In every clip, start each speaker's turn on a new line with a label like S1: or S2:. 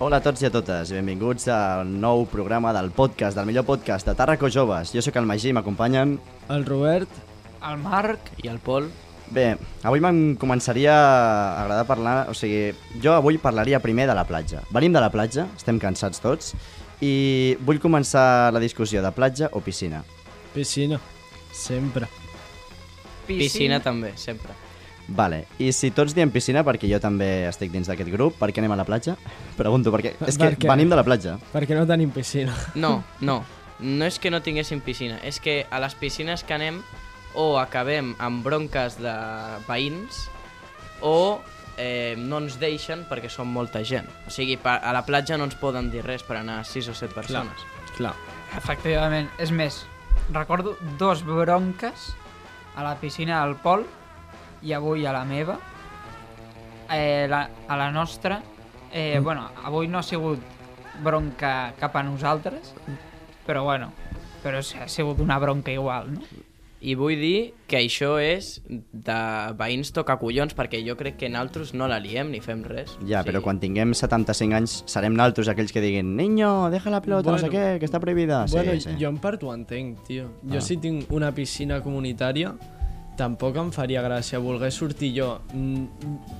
S1: Hola a tots i a totes, i benvinguts al nou programa del podcast, del millor podcast de Tàrraco Joves. Jo sóc el Magí i m'acompanyen...
S2: El Robert,
S3: el Marc i el Pol.
S1: Bé, avui me'n començaria a agradar parlar... O sigui, jo avui parlaria primer de la platja. Venim de la platja, estem cansats tots, i vull començar la discussió de platja o piscina.
S2: piscina, sempre.
S3: Piscina, piscina també, sempre.
S1: Vale, i si tots diem piscina, perquè jo també estic dins d'aquest grup, per què anem a la platja? Pregunto, perquè és que
S2: Perquè-
S1: venim de la platja.
S2: Perquè no tenim piscina.
S3: No, no. No és que no tinguéssim piscina, és que a les piscines que anem o acabem amb bronques de veïns o eh, no ens deixen perquè són molta gent. O sigui, pa- a la platja no ens poden dir res per anar 6 o 7 persones.
S2: Clar.
S4: Efectivament, és més, recordo dos bronques a la piscina del Pol i avui a la meva. Eh, la, a la nostra, eh,
S3: Mm.
S4: bueno, avui no ha sigut bronca cap a nosaltres, però bueno, però sí, ha sigut una bronca igual, no?
S3: I vull dir que això és de veïns toca collons perquè jo crec que nosaltres no la liem ni fem res.
S1: Ja,
S3: O sigui,
S1: però quan tinguem 75 anys serem naltros aquells que diguin «Niño, deja la pelota, bueno, no sé
S2: Bueno.
S1: què, que està prohibida». Ah, Sí,
S2: bueno,
S1: sí.
S2: jo en part ho entenc, tio. Jo
S1: Ah.
S2: si tinc una piscina comunitària, tampoc em faria gràcia voler sortir jo mm,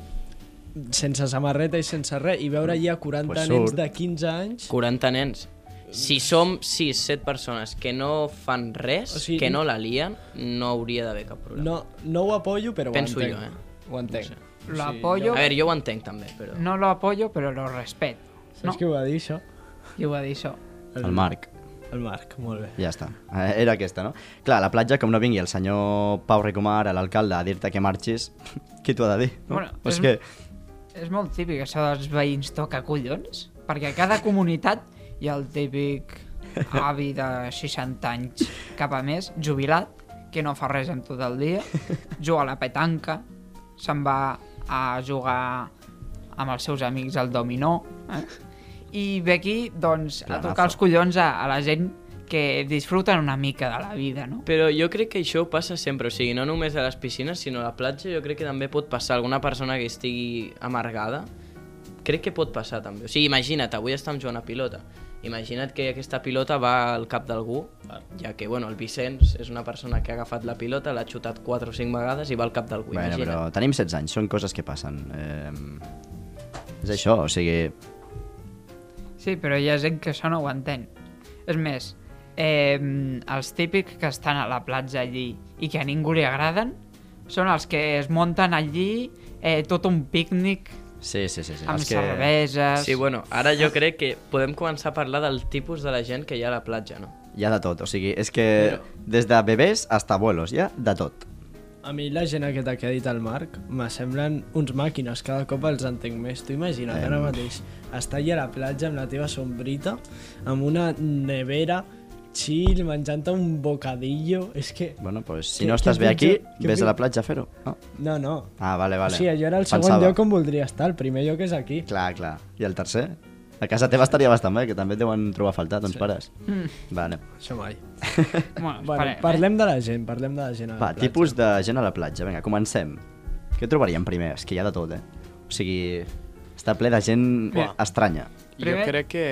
S2: sense samarreta i sense res i veure allà 40
S1: Mm. Pues
S2: pues
S1: surt.
S2: nens de 15 anys
S3: 40 nens. Si som 6, 7 persones que no fan res,
S2: O
S3: o
S2: sigui,
S3: sigui, que no la lien, no hauria d'haver cap problema.
S2: no, no ho apoyo, però
S3: Penso
S2: ho entenc.
S3: jo, eh.
S2: Ho entenc.
S3: No
S2: O
S4: Lo
S2: sigui,
S4: apoyo.
S3: A veure, jo ho entenc també, però...
S4: No lo apoyo, però lo respeto.
S2: Saps
S4: No,
S2: qui ho va dir, això?
S4: qui ho va dir això?
S1: El Marc.
S2: El Marc, molt bé.
S1: Ja està. Eh, Era aquesta, no? Clar, a la platja, com no vingui el senyor Pau Ricomar, l'alcalde, a dir-te que marxis, qui t'ho ha de dir? No?
S4: Bueno,
S1: és
S4: és-
S1: que...
S4: És molt típic això dels veïns toca collons, perquè a cada comunitat hi ha el típic avi de 60 anys cap a més, jubilat, que no fa res en tot el dia, juga a la petanca, se'n va a jugar amb els seus amics al dominó, eh? i ve aquí, doncs, a
S1: Planazo.
S4: tocar els collons a, a la gent que disfruten una mica de la vida, no?
S3: Però jo crec que això passa sempre, o sigui, no només a les piscines, sinó a la platja, jo crec que també pot passar alguna persona que estigui amargada. Crec que pot passar també. O sigui, imagina't, avui estem jugant a pilota. Imagina't que aquesta pilota va al cap d'algú, ja que, bueno, el Vicenç és una persona que ha agafat la pilota, l'ha xutat 4 o 5 vegades i va al cap d'algú,
S1: Bueno,
S3: imagina't.
S1: però tenim 16 anys, són coses que passen. Eh, és això, o sigui...
S4: Sí, però hi ha gent que això no ho entén. És més, eh, els típics que estan a la platja allí i que a ningú li agraden són els que es munten allí eh, tot un pícnic
S1: Sí, sí, sí. sí.
S4: amb
S1: és
S4: que...
S1: que...
S4: cerveses...
S3: Sí, bueno, ara jo crec que podem començar a parlar del tipus de la gent que hi ha a la platja, no?
S1: Hi ha de tot, o sigui, és que des de bebès fins a abuelos, hi ha de tot.
S2: A mi la gent aquesta que ha dit el Marc me semblen uns màquines, cada cop els entenc més. Tu imagina't
S1: Em.
S2: ara mateix estar allà a la platja amb la teva sombrita, amb una nevera, chill, menjant un bocadillo, és que...
S1: Bueno, pues, si
S2: Què-
S1: no
S2: què
S1: estàs bé aquí,
S2: pitjor- què
S1: vés a la
S2: pitjor-
S1: platja a fer-ho. No?
S2: No, no.
S1: Ah, vale, vale.
S2: O sigui, jo era el segon
S1: Pensava.
S2: lloc on voldria estar, el primer lloc és aquí.
S1: Clar, clar. I el tercer? A casa teva estaria bastant bé, que també et deuen trobar a faltar, doncs sí. pares.
S4: Mm.
S1: Vale.
S2: Això mai.
S4: bueno,
S2: Bueno,
S4: esperem, eh?
S2: parlem de la gent, parlem de la gent a la
S1: Va,
S2: platja.
S1: tipus de gent a la platja. Vinga, comencem. Què trobaríem primer? És que hi ha de tot, eh? O sigui, està ple de gent
S4: Bé.
S1: estranya.
S4: Primer-
S5: Jo crec que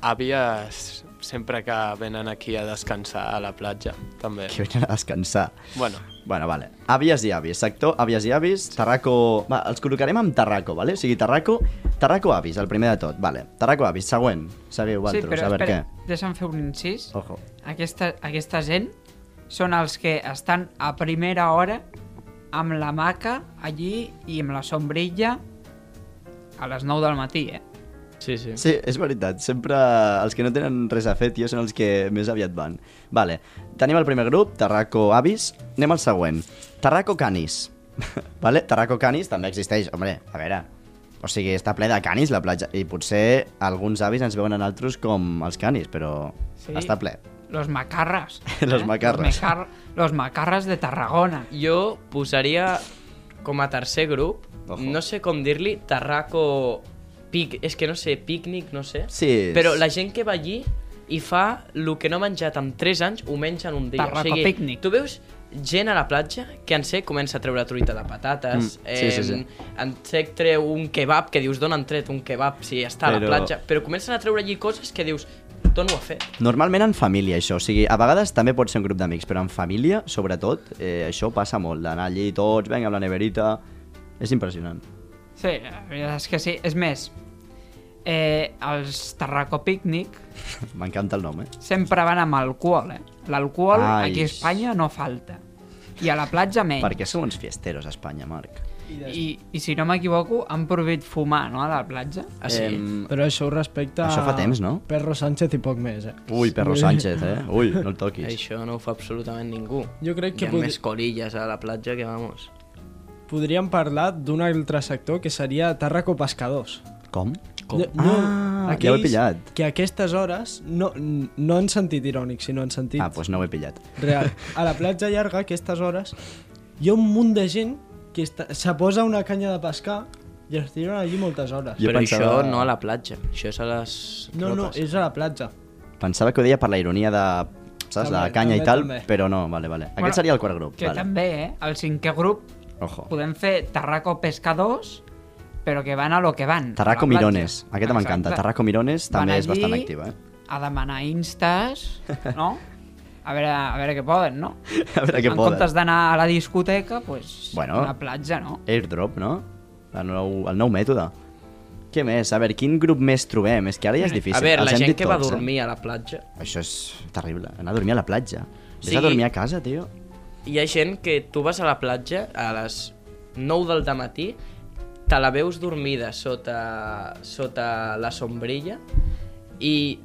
S5: àvies sempre que venen aquí a descansar a la platja, també.
S1: Que venen a descansar.
S5: Bueno,
S1: Bueno, vale. Àvies i avis. Sector, àvies i avis. Tarraco... Va, els col·locarem amb Tarraco, vale? O sigui, Tarraco... Tarraco avis, el primer de tot. Vale. Tarraco avis, següent. Seguiu,
S4: sí,
S1: vosaltres,
S4: però
S1: a veure
S4: espera,
S1: què. Oh.
S4: deixa'm fer un incís.
S1: Ojo.
S4: Aquesta, aquesta gent són els que estan a primera hora amb la maca allí i amb la sombrilla a les 9 del matí, eh?
S3: Sí, sí.
S1: Sí, és veritat. Sempre els que no tenen res a fer, tio, són els que més aviat van. Vale. Tenim el primer grup, Tarraco Avis. Anem al següent. Tarraco Canis. vale? Tarraco Canis també existeix. Hombre, a veure... O sigui, està ple de canis la platja. I potser alguns avis ens veuen en altres com els canis, però
S4: Sí.
S1: està ple.
S4: Los macarras. eh?
S1: Los macarras.
S4: Los, mecar- los macarras de Tarragona.
S3: Jo posaria com a tercer grup,
S1: Ojo.
S3: no sé com dir-li, Tarraco... Pic, és que no sé, pícnic, no sé.
S1: Sí, és-
S3: Però la gent que va allí i fa el que no ha menjat en 3 anys, ho menja en un dia.
S4: Tarraco pícnic.
S3: Tu veus gent a la platja que en sec comença a treure truita de patates,
S1: Mm, sí, sí, sí.
S3: en sec treu un kebab, que dius, d'on han tret un kebab si està a
S1: Però-
S3: la platja? Però comencen a treure allí coses que dius, d'on ho ha fet?
S1: Normalment en família, això. O sigui, a vegades també pot ser un grup d'amics, però en família, sobretot, eh, això passa molt. D'anar allí tots, vinga, amb la neverita... És impressionant.
S4: Sí, la veritat és que sí. És més, eh, els Tarraco Picnic
S1: M'encanta el nom, eh?
S4: sempre van amb alcohol, eh? L'alcohol
S1: Ai.
S4: aquí a Espanya no falta. I a la platja menys.
S1: Perquè són uns fiesteros a Espanya, Marc.
S4: I, I si no m'equivoco, han prohibit fumar, no?, a la platja.
S3: Ah, sí?
S1: Em,
S2: Però això ho respecta...
S1: Això fa temps, no?
S2: Perro Sánchez i poc més, eh?
S1: Ui, Perro Sánchez, eh? Ui, no el toquis.
S3: Això no ho fa absolutament ningú.
S2: Jo crec que
S3: Hi ha
S2: podri-
S3: més colilles a la platja que, vamos...
S2: Podríem parlar d'un altre sector que seria Tarraco Pescadors.
S1: Com?
S2: No,
S1: Ah, ja ho he pillat.
S2: Que a aquestes hores, no, no en sentit irònic, sinó en sentit
S1: Ah, doncs pues no ho he pillat.
S2: real. A la platja llarga, a aquestes hores, hi ha un munt de gent que està, se posa una canya de pescar i es tiren allí moltes hores.
S1: Jo
S3: Jo Però
S1: pensava-
S3: pensava... això no a la platja, això és a les...
S2: No, no,
S3: tropes.
S2: és a la platja.
S1: Pensava que ho deia per la ironia de... Saps? De
S2: També,
S1: canya i
S2: també,
S1: tal,
S2: també.
S1: però no, vale, vale.
S4: Bueno,
S1: Aquest seria el quart grup,
S4: Que
S1: vale.
S4: també, eh? El cinquè grup
S1: Ojo.
S4: podem fer Tarraco Pescadors, però que van a lo que van. a la
S1: Tarraco
S4: platja.
S1: Mirones. Aquesta m'encanta.
S4: Exacte.
S1: Tarraco Mirones
S4: Van
S1: també és
S4: allí
S1: bastant activa, eh?
S4: A demanar instes, no? A veure, a veure què poden, no?
S1: A veure què
S4: en
S1: poden.
S4: comptes d'anar a la discoteca, pues,
S1: Bueno.
S4: bueno. a la platja, no?
S1: Airdrop, no? El nou, el nou mètode. Què més? A veure, quin grup més trobem? És que ara ja és difícil.
S3: A veure,
S1: Els
S3: la
S1: hem
S3: gent
S1: dit
S3: que va
S1: tots,
S3: dormir a la platja...
S1: Eh? Això és terrible. Anar a dormir a la platja. Vés
S3: Sí.
S1: a dormir a casa, tio.
S3: Hi ha gent que tu vas a la platja a les 9 del matí, te la veus dormida sota, sota la sombrilla i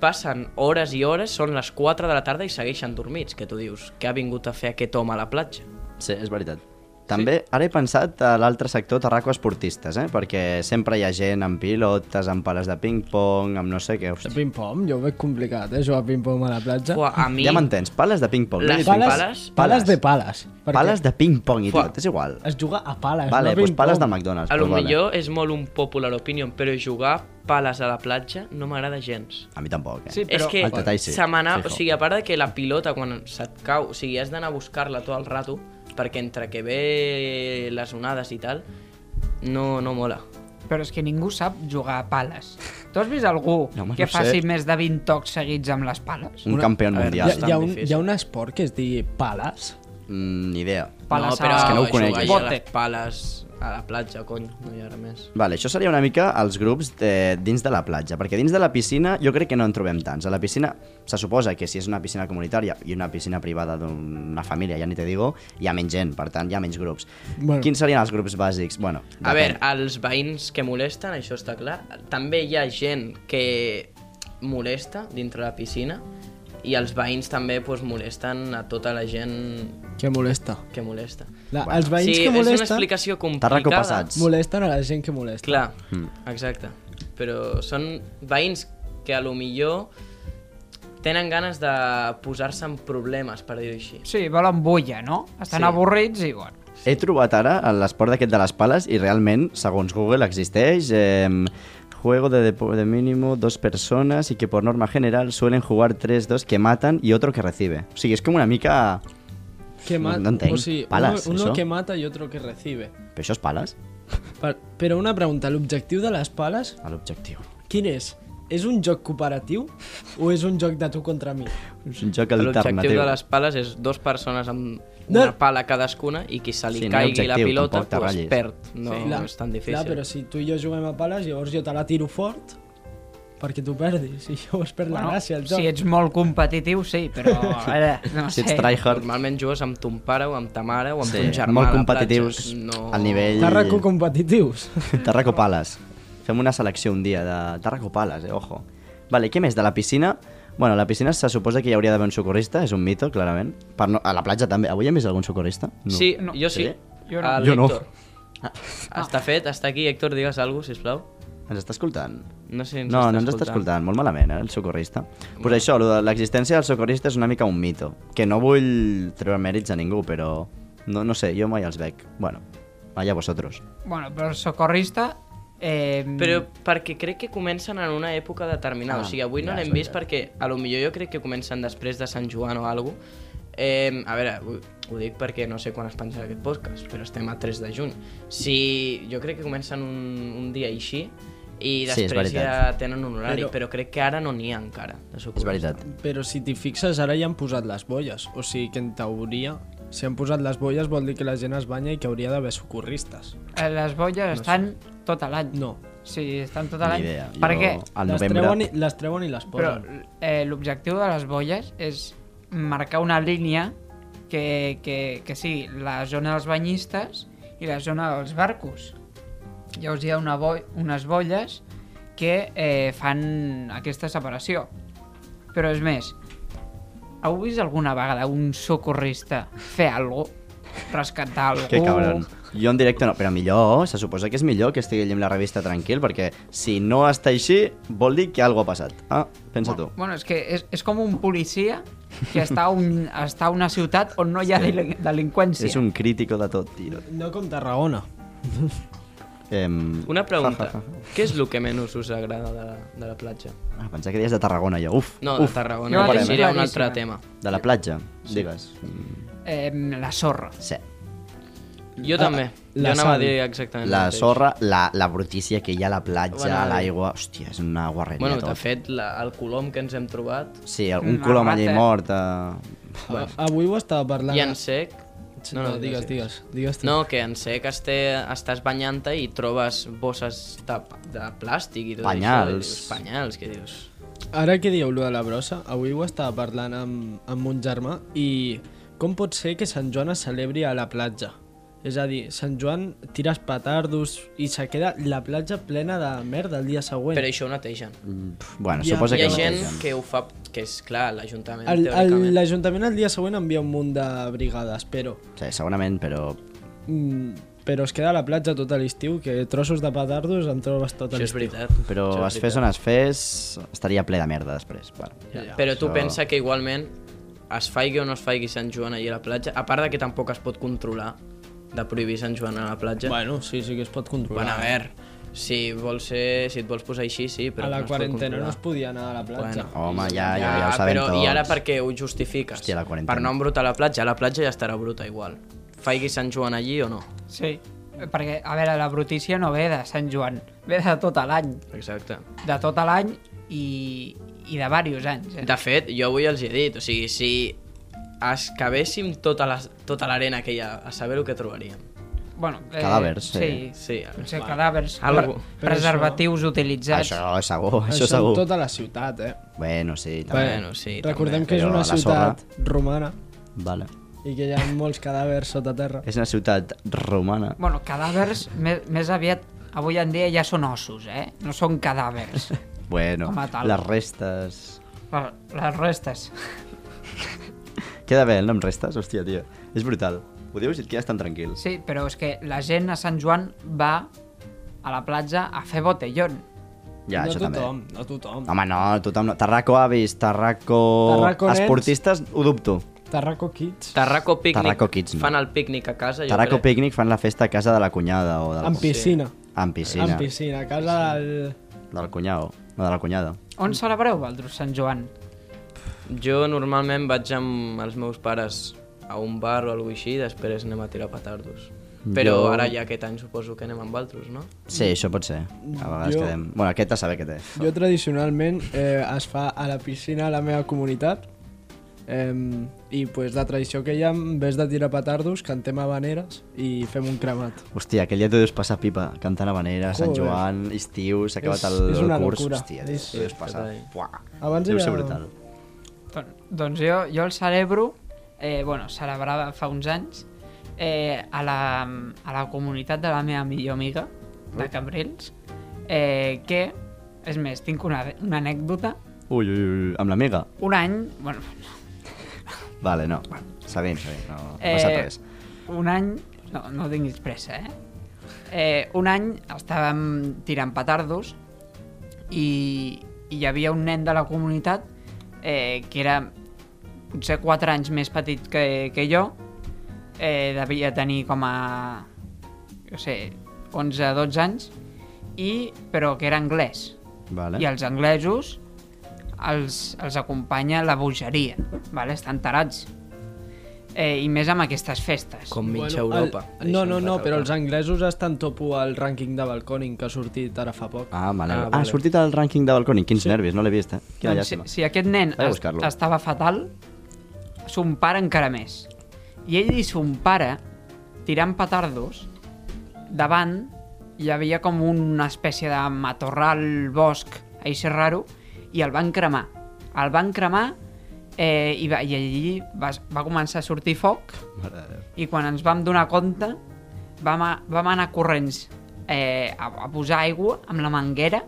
S3: passen hores i hores, són les 4 de la tarda i segueixen dormits, que tu dius, què ha vingut a fer aquest home a la platja?
S1: Sí, és veritat. També ara he pensat a l'altre sector tarraco esportistes, eh? Perquè sempre hi ha gent amb pilotes, amb pales de ping-pong, amb no sé què.
S2: De
S1: Hosti.
S2: ping-pong, jo ho veig complicat, eh, jugar a ping-pong a la platja.
S3: Fua, a mi...
S1: Ja m'entens, pales de ping-pong.
S3: Les
S1: no he dit
S3: pales-
S1: ping-pong.
S3: pales-
S2: Pales de pales. perquè
S1: Pales de ping-pong,
S3: Fuà.
S1: idiot, és igual.
S2: Es juga a
S1: Vale,
S2: pales, Eh, no a
S1: doncs
S2: ping-pong.
S1: pales del McDonald's.
S3: A lo
S1: però vale.
S3: millor és molt un popular opinion, però jugar pales a la platja no m'agrada gens.
S1: A mi tampoc, eh?
S4: Sí,
S3: és
S4: però...
S3: que
S1: Al detall sí,
S3: se m'anà...
S1: fijo.
S3: O sigui, a part de que la pilota, quan se't cau, o sigui, has d'anar a buscar-la tot el rato, perquè entre que ve les onades i tal, no, no mola.
S4: Però és que ningú sap jugar a pales. Tu has vist algú
S1: No, home,
S4: que
S1: no sé.
S4: faci més de 20 tocs seguits amb les pales?
S1: Un campió
S3: a veure,
S1: mundial.
S2: Hi ha,
S3: bastant
S2: hi, ha un,
S3: difícil.
S2: hi ha un esport que es digui pales?
S1: Mm, ni idea.
S4: Pales
S3: no, però
S4: a...
S1: És que no ho
S3: jugar
S1: conec,
S3: allà
S1: això.
S3: a les pales a la platja, cony, no hi ha res més.
S1: Vale, això seria una mica els grups de, dins de la platja, perquè dins de la piscina jo crec que no en trobem tants. A la piscina se suposa que si és una piscina comunitària i una piscina privada d'una família, ja ni te digo, hi ha menys gent, per tant, hi ha menys grups. Bueno.
S2: Bueno.
S1: Quins serien els grups bàsics? Bueno,
S3: A
S1: depèn.
S3: veure, els veïns que molesten, això està clar. També hi ha gent que molesta dintre la piscina i els veïns també pues, molesten a tota la gent
S2: Que molesta.
S3: que molesta.
S1: Bueno.
S2: La, bueno. Els veïns
S3: sí,
S2: que
S3: és una
S2: molesten,
S3: explicació complicada.
S1: Tarraco passats.
S2: molesten a la gent que molesta.
S3: Clar, mm. exacte. Però són veïns que a lo millor tenen ganes de posar-se en problemes, per dir-ho així.
S4: Sí, volen bulla, no? Estan
S3: Sí.
S4: sí. avorrits i, bueno...
S1: He trobat ara l'esport d'aquest de les pales i realment, segons Google, existeix... Eh, juego de, depo- de mínimo dos personas y que por norma general suelen jugar tres, dos que matan y otro que recibe. O sigui, és com una mica...
S2: Que
S1: No-
S2: mat...
S1: no entenc.
S2: O sigui,
S1: Pales,
S2: uno, uno
S1: això?
S2: que mata i otro que recibe.
S1: Però això és pales?
S2: Per, però una pregunta, l'objectiu de les pales,
S1: A l'objectiu.
S2: quin és? És un joc cooperatiu o és un joc de tu contra mi?
S1: És un joc
S3: L'objectiu
S1: alternatiu.
S3: de les pales és dos persones amb
S2: No.
S3: una pala cadascuna i qui se li
S1: Sí, no hi ha
S3: caigui la
S1: objectiu,
S3: pilota
S1: tampoc te
S3: pues,
S1: ratllis.
S3: perd. No és tan difícil.
S2: Clar, però si tu i jo juguem a pales, llavors jo te la tiro fort perquè tu perdis i llavors perd la gràcia el joc.
S4: si ets molt competitiu, sí, però a veure, no
S1: Si
S4: sé.
S1: ets tryhard,
S3: Normalment jugues amb ton pare o amb ta mare o amb
S1: Sí,
S3: ton germà
S1: molt
S3: a la
S1: competitius
S3: platja. no...
S1: al nivell-
S2: Tarraco competitius.
S1: Tarraco Pales. Fem una selecció un dia de Tarraco Pales, eh? ojo. Vale, què més? De la piscina? Bueno, a la piscina se suposa que hi hauria d'haver un socorrista, és un mito, clarament. Per no... A la platja també. Avui hi ha més algun socorrista?
S3: Sí,
S4: No.
S3: jo sí. Ah,
S1: Sí?
S4: Jo no.
S3: El
S1: Jo no.
S3: Héctor. Està fet, està aquí. Héctor, digues alguna cosa, sisplau.
S1: Ens està escoltant?
S3: No sé si ens
S1: no,
S3: està
S1: no ens està escoltant. Molt malament, eh, el socorrista. Doncs pues això, lo de l'existència del socorrista és una mica un mito. Que no vull treure mèrits a ningú, però... No, no sé, jo mai els veig. Bueno, allà vosotros.
S4: Bueno, però el socorrista... Eh,
S3: Però perquè crec que comencen en una època determinada.
S1: Mm. Ah,
S3: o sigui, avui
S1: ja,
S3: no
S1: és
S3: l'hem vist
S1: veritat.
S3: perquè a lo millor jo crec que comencen després de Sant Joan o alguna Eh, a veure, ho, ho dic perquè no sé quan es penja aquest podcast, però estem a 3 de juny. Si jo crec que comencen un, un dia així i
S1: Sí, és
S3: després ja
S1: veritat.
S3: tenen un horari,
S2: Però-
S3: però, crec que ara no n'hi ha encara. De
S1: És veritat.
S2: Però si t'hi fixes, ara ja han posat les boies. O sigui que, en teoria, si han posat les boies vol dir que la gent es banya i que hauria d'haver socorristes.
S4: eh, les bolles no estan tot l'any.
S2: No.
S4: Sí, estan tot
S1: Ni
S4: l'any.
S1: idea.
S4: Per
S1: Jo,
S4: què?
S1: Al
S2: les,
S1: novembre...
S2: treuen i, les treuen i les
S4: Però
S2: posen.
S4: eh, l'objectiu de les bolles és marcar una línia que, que, que sigui la zona dels banyistes i la zona dels barcos. Llavors hi ha una bo unes bolles que eh, fan aquesta separació. Però és més, heu vist alguna vegada un socorrista fer alguna cosa? Rescatar algú?
S1: Que cabron. Jo en directe no, però millor, se suposa que és millor que estigui allí amb la revista tranquil, perquè si no està així, vol dir que alguna ha passat. Ah, pensa tu.
S4: Bueno, és que és, és com un policia que està a, un, està a una ciutat on no hi ha delin- delinqüència.
S1: És un crítico de tot, tio.
S2: No com Tarragona.
S1: Em...
S3: Una pregunta.
S1: Ja, ja,
S3: Què és el que menys us agrada de la, de la platja?
S1: ja. Ah, pensava que deies de Tarragona, jo. Uf,
S3: No,
S1: uf.
S3: de Tarragona.
S4: jo la
S3: No,
S4: tinc
S3: seria un
S4: claríssima.
S3: altre tema.
S1: De la platja, digues. Mm,
S4: Eh, la sorra.
S3: Ah,
S1: Sí.
S3: Jo també.
S2: la
S3: jo anava
S2: sang.
S3: a dir exactament el
S1: La
S3: mateix.
S1: sorra, la, la brutícia que hi ha a la platja,
S3: Bueno,
S1: a l'aigua... Hòstia, és una guarreria
S3: Bueno, de
S1: tot.
S3: fet, la, el colom que ens hem trobat
S1: Sí, un
S4: La
S1: colom allà
S4: rata.
S1: mort. Eh...
S2: Bueno. Avui ho estava parlant...
S3: i en sec...
S2: No, no, digues, digues. digues tu.
S3: No, que en sec este, estàs banyant-te i trobes bosses de, de plàstic i tot
S1: Panyals.
S3: això. i dius, Panyals, que dius...
S2: Ara que dieu lo de la brossa, avui ho estava parlant amb, amb un germà i com pot ser que Sant Joan es celebri a la platja? És a dir, Sant Joan tires petardos i se queda la platja plena de merda el dia següent.
S3: Però això ho netegen.
S1: Pf, Bueno,
S2: Hi ha-
S1: suposa
S3: Hi
S1: que
S3: ha
S1: no
S3: gent
S1: tenen.
S3: que ho fa... Que és clar, l'Ajuntament,
S2: El- el-
S3: teòricament.
S2: L'Ajuntament el dia següent envia un munt de brigades, però...
S1: Sí, segurament, però...
S2: Mm, però es queda a la platja tot l'estiu, que trossos de petardos en trobes tot
S3: Això és
S2: l'estiu.
S3: veritat.
S1: Però
S3: això és
S1: es fes
S3: veritat.
S1: on es fes, estaria ple de merda després. Bueno,
S3: Però tu
S1: això-
S3: pensa que igualment es faigui o no es faigui Sant Joan allà a la platja, a part de que tampoc es pot controlar de prohibir Sant Joan a la platja.
S2: Bueno, sí, sí que es pot controlar.
S3: Bueno, a veure, si vols ser, si et vols posar així, sí, eh, però
S2: a la
S3: no es pot
S2: quarantena no
S3: controlar.
S2: es podia anar a la platja.
S3: Bueno.
S1: Home, ja, ja, ja ho sabem
S3: però,
S1: tots.
S3: I ara per què ho justifiques?
S1: Hòstia, la quarantena.
S3: per no embrutar la platja, la platja ja estarà bruta igual. Faigui Sant Joan allí o no?
S4: Sí. Perquè, a veure, la brutícia no ve de Sant Joan, ve de tot l'any.
S3: Exacte.
S4: De tot l'any i, i de diversos anys. Eh?
S3: De fet, jo avui els he dit, o sigui, si excavéssim tota la- tota l'arena que hi ha, a saber el que trobaríem.
S4: Bueno, eh,
S1: Cadàvers, eh. sí.
S3: Sí,
S4: Potser
S3: va.
S4: cadàvers,
S3: Algo.
S4: pre-
S2: Però
S4: preservatius utilitzats.
S1: Això és segur, això,
S2: Això
S1: això segur.
S2: en tota la ciutat, eh?
S1: Bueno, sí, també.
S3: Bueno, sí,
S2: Recordem
S1: també,
S2: que és
S1: però
S2: una
S1: a la
S2: ciutat romana
S1: Vale.
S2: i que hi ha molts cadàvers sota terra.
S1: És una ciutat romana.
S4: Bueno, cadàvers, més, més aviat, avui en dia ja són ossos, eh? No són cadàvers.
S1: Bueno,
S4: Home, tal.
S1: les restes...
S4: Les les restes.
S1: Queda bé el nom restes? Hòstia, tio. És brutal. Ho dius i et quedes tan tranquil.
S4: Sí, però és que la gent a Sant Joan va a la platja a fer botellón.
S1: Ja,
S2: no
S1: això
S2: tothom,
S1: també.
S2: no tothom.
S1: Home, no, tothom no. Tarraco avis, tarraco...
S2: Tarraco nens.
S1: Esportistes, ho dubto.
S2: Tarraco Kids.
S3: Tarraco Picnic
S1: Tarraco Kids, no.
S3: fan el pícnic a casa, jo
S1: Tarraco
S3: crec.
S1: Picnic fan la festa a casa de la cunyada o de la...
S2: En piscina.
S1: Amb
S2: Sí,
S1: piscina.
S2: en piscina, a casa del...
S1: Del cunyau. No, de la cunyada.
S4: On celebreu, Valdros, Sant Joan?
S3: Jo normalment vaig amb els meus pares a un bar o alguna cosa així i després anem a tirar petardos. Però
S1: Jo-
S3: ara ja aquest any suposo que anem amb altres, no?
S1: Sí, això pot ser. A vegades
S2: Jo-
S1: quedem... Bueno, aquest a saber què té.
S2: Jo tradicionalment eh, es fa a la piscina a la meva comunitat eh, i pues, la tradició que hi ha, en vez de tirar petardos, cantem habaneres i fem un cremat.
S1: Hòstia, aquell dia t'ho deus passar pipa, cantant Habanera, Sant
S2: Joder.
S1: Joan, estiu, s'ha acabat
S2: És-
S1: el,
S2: és una
S1: el curs.
S2: locura.
S1: Hòstia,
S2: És-
S1: t'ho deus passar.
S3: fatal.
S1: Buah,
S2: Abans
S1: deu
S2: era-
S1: ser brutal.
S4: Don- Doncs jo, jo el celebro, eh, bueno, celebrava fa uns anys, eh, a, la, a la comunitat de la meva millor amiga, de Cambrils, eh, que, és més, tinc una, una anècdota.
S1: Ui, ui, ui, amb l'amiga?
S4: Un any, bueno,
S1: Vale, no. Seguim, seguim, no, no
S4: Eh,
S1: passa res.
S4: un any... No, no tinguis pressa, eh? eh, un any estàvem tirant petardos i, i hi havia un nen de la comunitat eh, que era potser 4 anys més petit que, que jo eh, devia tenir com a jo sé, 11-12 anys i, però que era anglès
S1: Vale.
S4: i els anglesos els, els acompanya la bogeria vale? estan tarats eh, i més amb aquestes festes
S3: Com mitja
S2: Bueno,
S3: Europa.
S2: El... No, no,
S3: deixa'm
S2: no, però
S3: recalcar.
S2: els anglesos estan topo al rànquing de Balconing que ha sortit ara fa poc.
S1: Ah, vale.
S2: Ah,
S1: Ah, ha
S2: vale.
S1: sortit al rànquing de Balconi. Quins sí. nervis, no l'he vist, eh? Quina
S4: doncs, si,
S1: llàstima. Sí,
S4: si aquest nen
S1: Vaig a
S4: es-
S1: buscar-lo.
S4: estava fatal son pare encara més i ell i son pare tirant petardos davant hi havia com una espècie de matorral bosc així raro i el van cremar el van cremar eh, i, va, i allí va, va començar a sortir foc i quan ens vam donar compte vam, a, vam anar corrents eh, a, a posar aigua amb la manguera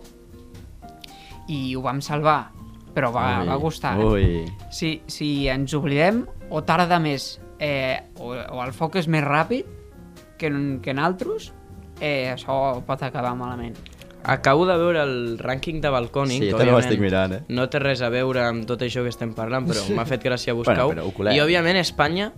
S4: i ho vam salvar però va, va costar eh?
S1: Ui.
S4: si, si ens oblidem o tarda més eh, o, o el foc és més ràpid que en, que en altres eh, això pot acabar malament
S3: Acabo de veure el rànquing de Balcònic.
S1: Sí,
S3: que
S1: també ho
S3: òbviament
S1: estic mirant, eh?
S3: No té res a veure amb tot això que estem parlant, però m'ha fet gràcia buscar-ho.
S1: Bueno, però ho colem.
S3: I, òbviament, Espanya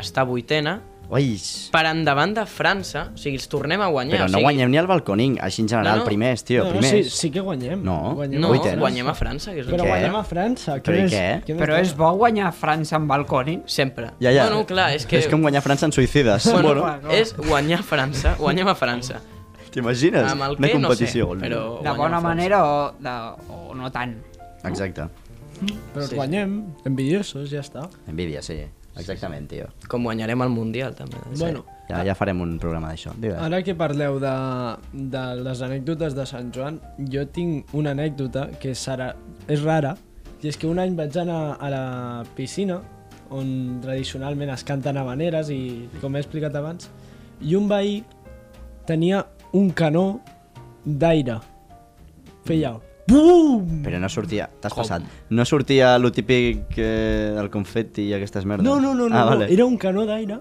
S3: està vuitena,
S1: Ui.
S3: per endavant de França, o sigui, els tornem a guanyar.
S1: Però
S3: o
S1: no
S3: sigui,
S1: guanyem ni al Balconing, així en general,
S3: No, no.
S1: primers, tio,
S2: no, no, sí,
S1: primers.
S2: sí que guanyem.
S1: No,
S2: guanyem
S3: No,
S2: a
S1: Vuitens.
S2: França.
S3: guanyem a França, que és
S2: Però
S1: Què?
S2: guanyem a França.
S1: Però i
S2: més-
S1: què?
S2: més
S4: però
S2: dona?
S4: és bo guanyar a França amb balcònic
S3: Sempre.
S1: Ja, ja.
S3: Bueno, clar, és que...
S1: És com guanyar França en suïcides.
S3: Bueno,
S1: Bueno,
S4: clar, clar.
S3: és guanyar França, guanyem a França.
S1: t'imagines?
S3: Amb el
S1: Una
S3: què, no sé,
S1: competició.
S3: però...
S4: de
S3: guanyem
S4: bona
S3: a França.
S4: manera o, de, o no tant
S1: Exacte.
S2: Però
S3: Sí.
S2: sí. guanyem, envidiosos, ja està.
S1: Envidia, sí. Exactament, tio.
S3: Com guanyarem el Mundial, també.
S2: Sí. Bueno,
S1: Ja, ja farem un programa d'això. Digues.
S2: ara que parleu de, de les anècdotes de Sant Joan, jo tinc una anècdota que serà, és rara, i és que un any vaig anar a la piscina, on tradicionalment es canten habaneres i, com he explicat abans, i un veí tenia un canó d'aire. Feia...
S1: Mm.
S2: Bum!
S1: Però no sortia... T'has passat. No sortia lo típic eh, del confeti i aquestes merdes.
S2: No, no, no, no,
S1: Ah, vale.
S2: no. era un canó d'aire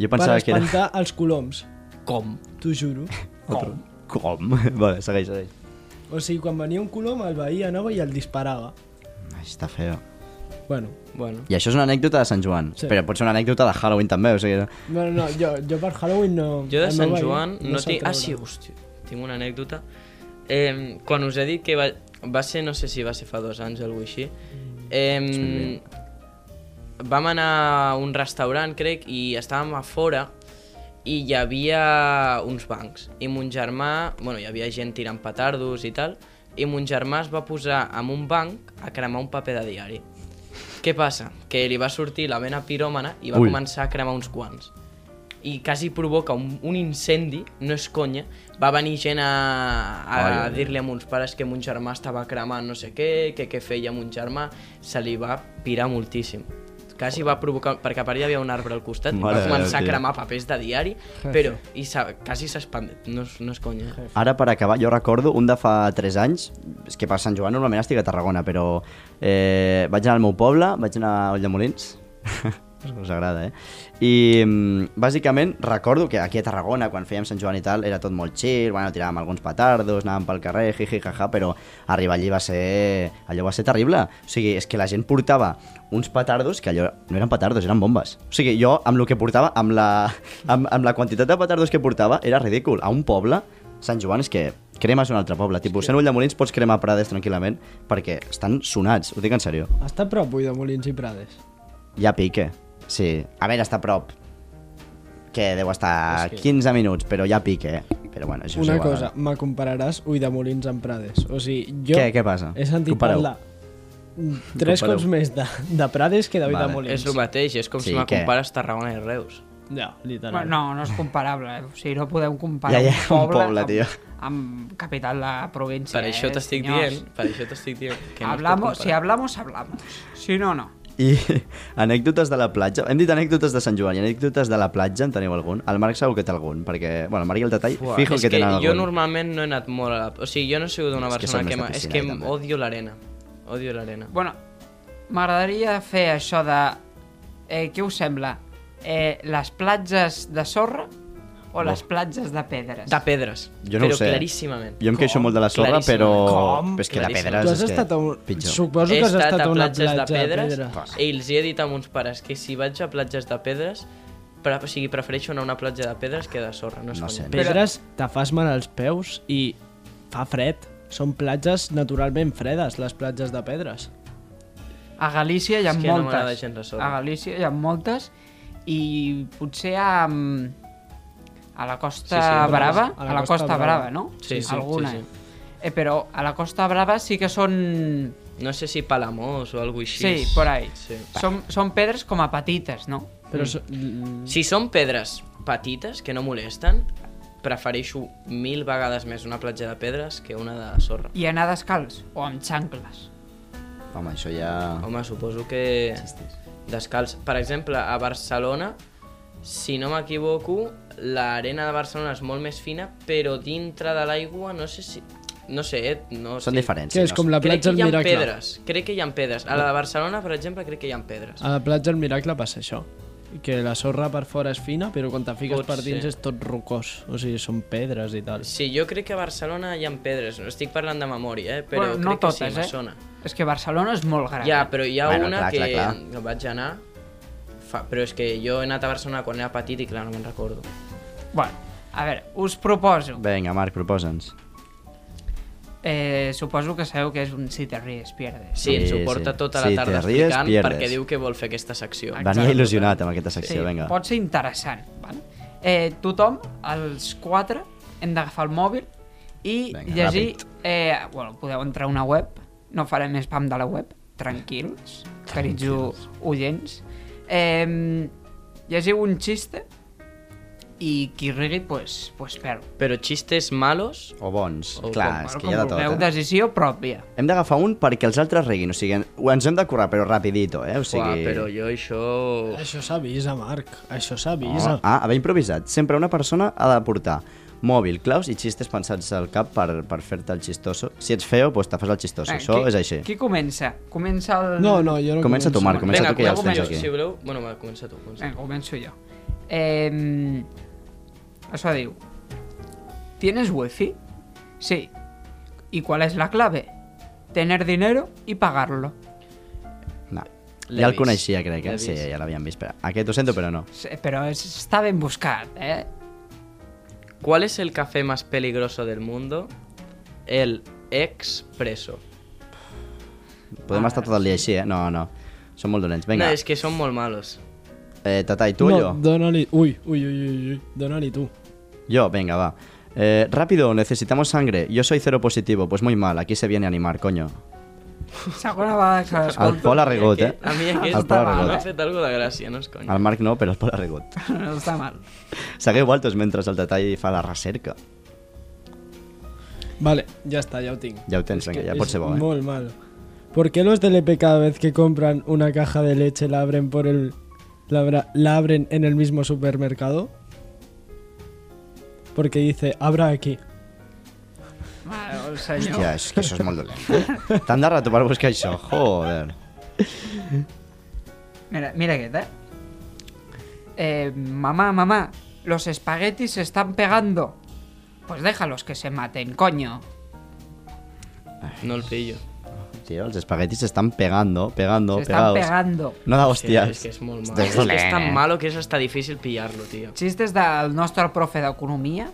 S1: Jo
S2: per
S1: pensava que era...
S2: espantar els coloms,
S3: Com?
S2: t'ho juro.
S1: Com? Com? vale, segueix, segueix.
S2: O sigui, quan venia un colom, el veí anava i el disparava.
S1: Ai, està feo.
S2: Bueno,
S3: Bueno.
S1: I això és una anècdota de Sant Joan,
S2: Sí.
S1: però pot ser una anècdota de Halloween també, o sigui...
S2: bueno no, jo, jo per Halloween no...
S3: Jo de
S2: el meu
S3: Sant
S2: veí
S3: Joan no,
S2: se'l
S3: tinc... Ah,
S2: traurà.
S3: sí, hòstia, tinc una anècdota. Eh, quan us he dit que va, va ser, no sé si va ser fa dos anys o alguna cosa així, eh, vam anar a un restaurant, crec, i estàvem a fora i hi havia uns bancs. I mon germà... Bueno, hi havia gent tirant petardos i tal, i mon germà es va posar en un banc a cremar un paper de diari. Què passa? Que li va sortir la vena piròmana i va
S1: Ui.
S3: Ui. començar a cremar uns quants. I quasi provoca un, un incendi, no és conya. Va venir gent a, a
S1: Ai, ai, ai.
S3: dir-li a mons pares que mon germà estava cremant no sé què, que què feia mon germà. Se li va pirar moltíssim. Quasi va provocar... Perquè a part hi havia un arbre al costat i
S1: Mare
S3: va
S1: de Déu,
S3: començar a
S1: tio.
S3: cremar papers de diari, però i s'ha- quasi s'ha expandit. No, és- no és conya.
S1: Ara, per acabar, jo recordo un de fa 3 anys, és que per Sant Joan normalment estic a Tarragona, però eh, vaig anar al meu poble, vaig anar a Ulldemolins, us agrada, eh? I mm, bàsicament recordo que aquí a Tarragona, quan fèiem Sant Joan i tal, era tot molt chill, bueno, tiràvem alguns petardos, anàvem pel carrer, jiji, jaja, però arribar allí va ser... allò va ser terrible. O sigui, és que la gent portava uns petardos que allò no eren petardos, eren bombes. O sigui, jo amb el que portava, amb la, amb, amb la quantitat de petardos que portava, era ridícul. A un poble, Sant Joan és que cremes un altre poble. Tipus, sent Ulldemolins pots cremar Prades tranquil·lament perquè estan sonats, ho dic en sèrio.
S2: Està a prop, avui, de Molins i Prades.
S1: Ja pica, sí. A veure, està a prop. Que deu estar 15 minuts, però ja pica, eh? Però bueno, això
S2: Una
S1: és igual. eh?
S2: cosa, me compararàs Ui de Molins amb Prades. O sigui, jo
S1: Què- què passa?
S2: he sentit
S1: Compareu.
S2: parlar tres
S1: Compareu.
S2: cops més de, de Prades que de Ui
S1: Vale.
S2: de Molins.
S3: És el mateix, és com
S1: Sí,
S3: sí, si me
S1: què?
S3: compares Tarragona i Reus.
S2: Ja, literal.
S4: Bueno, no, no és comparable, eh? o sigui, no podeu comparar
S1: Ja, ja,
S4: un
S1: un
S4: poble,
S1: poble,
S4: amb,
S1: tio.
S4: amb capital de província.
S3: Per això
S4: eh,
S3: t'estic
S4: senyors?
S3: dient, per això t'estic dient. Que no es pot
S4: Hablamos, si
S3: comparar.
S4: hablamos, hablamos. Si no, no.
S1: I anècdotes de la platja. Hem dit anècdotes de Sant Joan i anècdotes de la platja, en teniu algun? El Marc segur que té algun, perquè... Bueno, el Marc i el detall,
S3: Buah,
S1: fijo
S3: és
S1: que tenen
S3: jo
S1: algun.
S3: normalment no he anat molt a la... O sigui, jo no he sigut una
S1: És que
S3: persona
S1: són
S3: que...
S1: més de
S3: m'ha- És
S1: piscina,
S3: que
S1: i també.
S3: odio l'arena. Odio l'arena.
S4: Bueno, m'agradaria fer això de... Eh, què us sembla? Eh, les platges de sorra O les platges de pedres.
S3: De pedres.
S1: Jo no
S3: però
S1: ho sé. eh.
S3: claríssimament.
S1: Jo em queixo molt de la sorra,
S3: Claríssimament.
S1: però...
S2: Com?
S1: Però És que de
S3: Claríssim.
S1: pedres
S2: Tu has
S1: és que...
S2: estat a un...
S1: Pitjor.
S2: Suposo
S3: He
S2: que has
S3: estat,
S2: estat
S3: a
S2: a una
S3: platges
S2: platja
S3: de pedres
S2: de pedres.
S3: i els hi he dit a uns pares que si vaig a platges de pedres, pre o sigui, prefereixo anar a una platja de pedres que de sorra. No, és
S1: No
S3: conya.
S1: sé.
S2: Pedres te fas mal als peus i fa fred. Són platges naturalment fredes, les platges de pedres.
S4: A Galícia hi ha
S3: És que no m'agrada
S4: moltes.
S3: gens la sorra.
S4: a Galícia hi ha moltes i potser a, mm, a la Costa
S3: Sí, sí,
S4: Brava,
S2: a
S4: a la Costa, Brava, no?
S3: Sí, sí,
S4: Alguna.
S3: sí, sí.
S4: Eh, però a la Costa Brava sí que són...
S3: No sé si Palamós o alguna cosa així.
S4: Sí, por ahí.
S3: Sí.
S4: Són, són pedres com a petites, no?
S2: Però mm.
S3: Si són pedres petites, que no molesten, prefereixo mil vegades més una platja de pedres que una de sorra.
S4: I anar descalç o amb xancles.
S1: Home, això ja...
S3: Home, suposo que descalç. Per exemple, a Barcelona, si no m'equivoco, l'arena de Barcelona és molt més fina, però dintre de l'aigua no sé si... No sé, eh, no
S1: Són
S3: estic-
S1: diferents.
S2: Què és, com la
S3: Crec
S2: platja
S3: que
S2: del
S3: hi ha
S2: Miracle?
S3: pedres, crec que hi ha pedres. A la de Barcelona, per exemple, crec que hi ha pedres.
S2: A la platja del Miracle passa això, que la sorra per fora és fina, però quan te fiques
S3: Pot
S2: per dins
S3: ser.
S2: és tot rocós, o sigui, són pedres i tal.
S3: Sí, jo crec que a Barcelona hi ha pedres, no estic parlant de memòria, eh? però
S4: Bueno, no
S3: crec
S4: totes,
S3: que sí, me
S4: eh?
S3: sona.
S4: És que Barcelona és molt gran.
S3: Ja, però hi ha
S1: Bueno,
S3: una
S1: clar,
S3: que
S1: clar, clar.
S3: que vaig anar, fa... però és que jo he anat a Barcelona quan era petit i clar, no me'n recordo.
S4: Bueno, a veure, us proposo.
S1: Vinga, Marc, proposa'ns.
S4: Eh, suposo que sabeu que és un si te ries, pierdes.
S3: Sí, ens
S1: Sí,
S3: ho porta
S1: sí.
S3: tota la
S1: Si te
S3: tarda
S1: ries,
S3: explicant
S1: pierdes.
S3: perquè diu que vol fer aquesta secció.
S1: Venia il·lusionat amb aquesta secció, vinga.
S4: pot ser interessant. Val? Eh, tothom, els quatre, hem d'agafar el mòbil i
S1: Vinga,
S4: llegir...
S1: ràpid.
S4: Eh, bueno, podeu entrar a una web, no farem més spam de la web, tranquils, carits u- oients. Eh, llegiu un xiste i qui rigui, pues, pues perd.
S3: Però xistes malos,
S1: O bons.
S3: O
S1: Clar,
S3: com-
S1: és
S4: Bueno,
S1: que hi ha de
S4: com
S1: tot.
S4: vulgueu,
S1: eh?
S4: decisió pròpia.
S1: Hem d'agafar un perquè els altres riguin, o sigui, ho ens hem de currar, però rapidito, eh? O
S3: sí. uah,
S1: sigui...
S3: però jo això...
S2: Això s'avisa, Marc, això s'avisa.
S1: Oh, ah, haver improvisat. Sempre una persona ha de portar mòbil, claus i xistes pensats al cap per, per fer-te el xistoso. Si ets feo, doncs te fas el xistoso.
S4: Eh,
S1: Això
S4: qui,
S1: és així.
S4: Qui comença? Comença el...
S2: No, no, jo no
S1: Comença tu, Marc, comença
S3: Vinga,
S1: tu que ja els tens
S3: comença,
S1: aquí.
S3: si voleu... Bueno, va, comença tu. Comença.
S4: Vinga, començo jo. Eh, això diu... ¿Tienes wifi? Sí. ¿Y cuál es la clave? Tener dinero y pagarlo.
S1: No.
S3: L'he
S1: Ja el
S3: vist.
S1: coneixia, crec,
S3: L'he
S1: eh? Sí,
S3: vist.
S1: ja l'havíem vist. Però... Aquest ho sento, però no.
S4: Sí, Però és, està ben buscat, eh?
S3: ¿Cuál es el café más peligroso del mundo? El expreso.
S1: Podem estar tot el dia així, eh? No, no. Som molt dolents.
S3: Ah, No,
S1: Vinga,
S3: és que són molt malos.
S1: eh, Tatai, tu o
S2: no,
S1: jo?
S2: dóna-li... Ui, ui, ui, ui, ui, dóna-li tu.
S1: Yo, venga, va. Eh, rápido, necesitamos sangre. Yo soy cero positivo. Pues muy mal, aquí se viene a animar, coño.
S4: Segona vegada que
S1: El
S4: l'escolto.
S1: Pol Arregot, eh?
S3: A mi
S1: El
S3: aquest
S1: Pol
S3: m'ha
S1: Arregot.
S3: fet algo de gràcia, no és conya.
S1: El Marc no, però el Pol Arregot.
S4: No està mal.
S1: Segueu altos mentre el detall fa la recerca.
S2: Vale, ja està, ja ho tinc.
S1: Ja ho tens, venga, ja pot ser bo, eh?
S2: Muy mal. ¿Por qué los del EP cada vez que compran una caja de leche la abren por el la, abra- la abren en el mismo supermercado? Porque dice, abra aquí.
S4: Mal, senyor.
S1: Hòstia, és que això és molt dolent. Tant de rato per buscar això, joder.
S4: Mira, mira aquest, eh? Eh, mamá, mamá, los espaguetis se están pegando. Pues déjalos que se maten, coño.
S3: No el pillo.
S1: Tio, els espaguetis s'estan pegando, pegando,
S4: se están
S1: pegados.
S4: pegando.
S1: No de
S3: Hòstia,
S1: hòsties.
S3: és que és molt malo.
S1: Estàs
S3: És, que és
S1: dolent,
S3: tan
S1: eh?
S3: malo que és hasta difícil pillar-lo, tio.
S4: Xistes del nostre profe d'economia,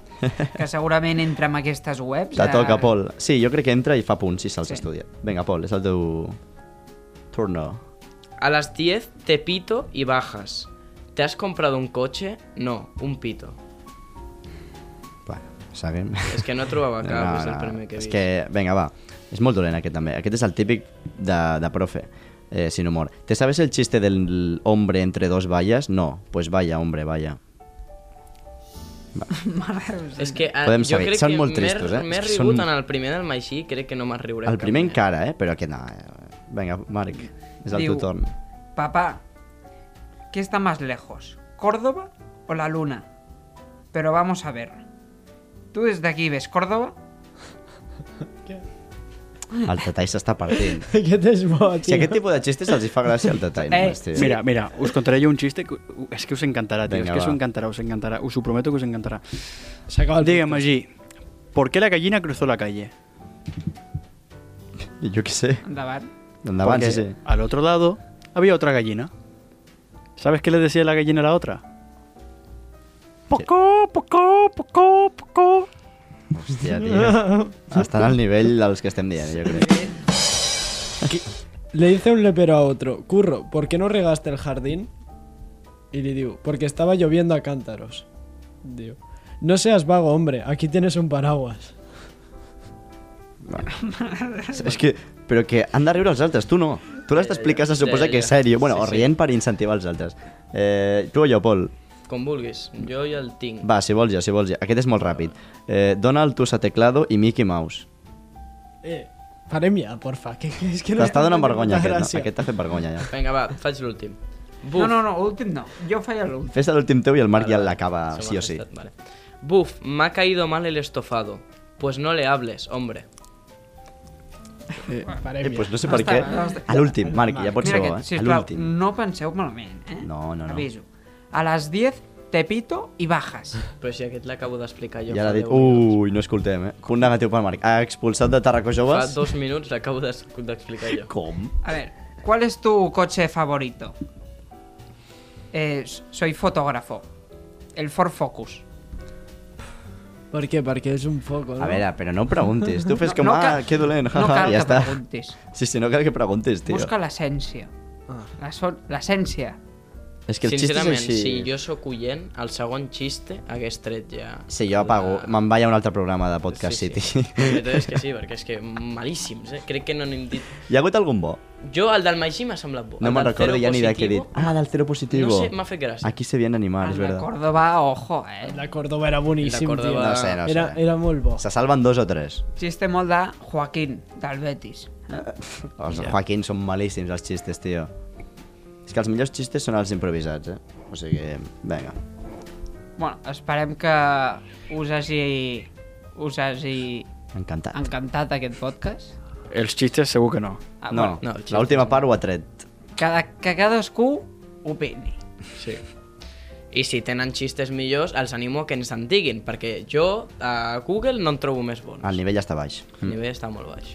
S4: que segurament entra en aquestes webs.
S1: Te
S4: a-
S1: toca, Pol. Sí, jo crec que entra i fa punts si se'ls
S4: Sí.
S1: sí. estudia. Vinga, Pol, és el teu... Turno.
S3: A las 10 te pito y bajas. ¿Te has comprado un coche? No, un pito.
S1: Bueno, seguim.
S3: És que no trobava cap, és pues el primer que he
S1: és
S3: vist.
S1: que, vinga, va. És molt dolent aquest també. Aquest és el típic de, de profe, eh, sin humor. ¿Te sabes el chiste del hombre entre dos vallas? No. Pues vaya, hombre, vaya.
S3: És que eh,
S1: Podem
S3: jo
S1: saber,
S3: crec
S1: són
S3: que
S1: molt
S3: m'he-
S1: tristos, eh?
S3: m'he
S1: És que
S3: rigut
S1: són-
S3: en el primer del Magí, crec que no me'n riuré.
S1: El
S3: cap
S1: primer
S3: més.
S1: encara, eh? Però aquest no. eh? Vinga, Marc, és el
S4: Diu-
S1: teu torn.
S4: Papá, ¿qué está más lejos? ¿Córdoba o la luna? Pero vamos a ver. ¿Tú desde aquí ves Córdoba?
S1: El Tatai s'està partint.
S2: Aquest és bo, tio.
S1: Si aquest tipus de xistes els hi fa gràcia el Tatai.
S4: Eh,
S1: només, tio.
S6: Mira, mira, us contaré jo un xiste que u- és que us encantará, tío.
S1: Vinga,
S6: es que us
S1: va.
S6: encantará, us encantará. Us ho prometo que os encantará.
S2: S'acaba el
S6: Dígame allí, ¿por qué la gallina cruzó la calle?
S1: Jo què sé.
S4: Endavant.
S1: Endavant,
S6: Porque
S1: sí, sí.
S6: al otro lado había otra gallina. ¿Sabes qué le decía la gallina a la otra? Pocó, pocó, pocó, pocó.
S1: Hòstia, tio. Estan al nivell dels que estem dient, jo crec.
S2: Le dice un lepero a otro, Curro, ¿por qué no regaste el jardín? Y le digo, porque estaba lloviendo a cántaros. Digo, no seas vago, hombre, aquí tienes un paraguas.
S1: És que, però que han de riure els altres, tu no. Tu l'has d'explicar, se suposa que és sèrio. Bueno, o rient per incentivar els altres. Eh, tu o jo, Pol?
S3: Com vulguis, jo ja el tinc.
S1: Va, si vols ja, si vols ja. Aquest és molt ràpid. Eh, Donald, Tusa Teclado i Mickey Mouse.
S2: Eh, farem ja, porfa, que, que és que no...
S1: T'està donant
S2: no té
S1: vergonya
S2: molta
S1: aquest, no?
S2: gràcia.
S1: Aquest t'ha fet vergonya ja.
S3: Vinga, va, faig l'últim. Buf.
S4: No, no, no, últim no. Jo feia l'últim.
S1: Fes l'últim teu i el Marc ja l'acaba,
S3: Se me
S1: sí o
S3: ha
S1: sí.
S3: gestat, Vale. Buf, me ha caído mal el estofado. Pues no le hables, hombre.
S1: Eh,
S2: Farem ja.
S1: pues no sé
S4: Ja
S1: per
S4: està,
S1: què.
S4: ja està.
S1: A l'últim, Marc, ja pots
S4: Mira,
S1: ser bo,
S4: aquest,
S1: eh? A
S4: sisplau,
S1: l'últim.
S4: no penseu malament, eh?
S1: No, no, no.
S4: Aviso. A les 10 te pito i bajas.
S3: Però si aquest l'acabo d'explicar jo
S1: Ja l'ha
S3: fa
S1: dit...
S3: 10 minuts.
S1: Ui, no escoltem, eh? Punt negatiu pel Marc. Ha expulsat de Tarraco
S3: Fa
S1: Joves?
S3: dos minuts l'acabo d'es- d'explicar jo.
S1: Com?
S4: A ver, ¿cuál es tu coche favorito? Eh, soy fotógrafo. El Ford Focus.
S2: Per què? Perquè és un foco, no?
S1: A veure, però no preguntis. Tu fes com,
S4: no
S1: ah,
S4: cal-
S1: que dolent,
S4: No
S1: jaja,
S4: cal
S1: ja
S4: que
S1: està.
S4: preguntis.
S1: Sí, sí, no cal que preguntis, tio.
S4: Busca l'essència.
S2: Ah.
S4: La so- L'essència.
S1: És que el xiste és
S3: Sincerament,
S1: així.
S3: si jo sóc oient, el segon xiste hagués tret ja...
S1: Sí, jo apago. Me'n vaig a un altre programa de Podcast
S3: Ah. sí,
S1: City.
S3: Sí. La veritat és que sí, perquè és que malíssims, eh? Crec que no n'hem dit...
S1: Hi ha hagut algun bo?
S3: Jo, el del Magí m'ha semblat bo.
S1: No
S3: El
S1: me'n
S3: del
S1: recordo
S3: Cero
S1: ja ni de què he
S3: Positivo,
S1: dit. Ah, del cero positivo.
S3: No sé, m'ha fet gràcia. Ah,
S1: Aquí se vienen animals,
S4: El
S1: és
S4: de
S1: Ah, verdad.
S4: Córdoba, ojo, eh?
S2: La Córdoba era boníssim,
S3: La Córdoba-
S2: tio.
S1: No sé, no sé.
S2: Era, era molt bo.
S1: Se salven dos o tres.
S4: Xiste molt de Joaquín, del Betis.
S1: Els yeah. Joaquín són malíssims, els xistes, tio. És que els millors xistes són els improvisats, eh? O sigui, vinga.
S4: Bueno, esperem que us hagi, us hagi
S1: Encantat.
S4: encantat aquest podcast.
S6: Els xistes segur que no.
S4: Ah,
S1: No,
S3: no,
S1: no
S3: el xiste
S1: l'última part ho ha tret.
S4: Cada, que cadascú opini.
S3: Sí. I si tenen xistes millors, els animo a que ens en diguin, perquè jo a Google no en trobo més bons.
S1: El nivell està baix.
S3: El nivell està molt baix.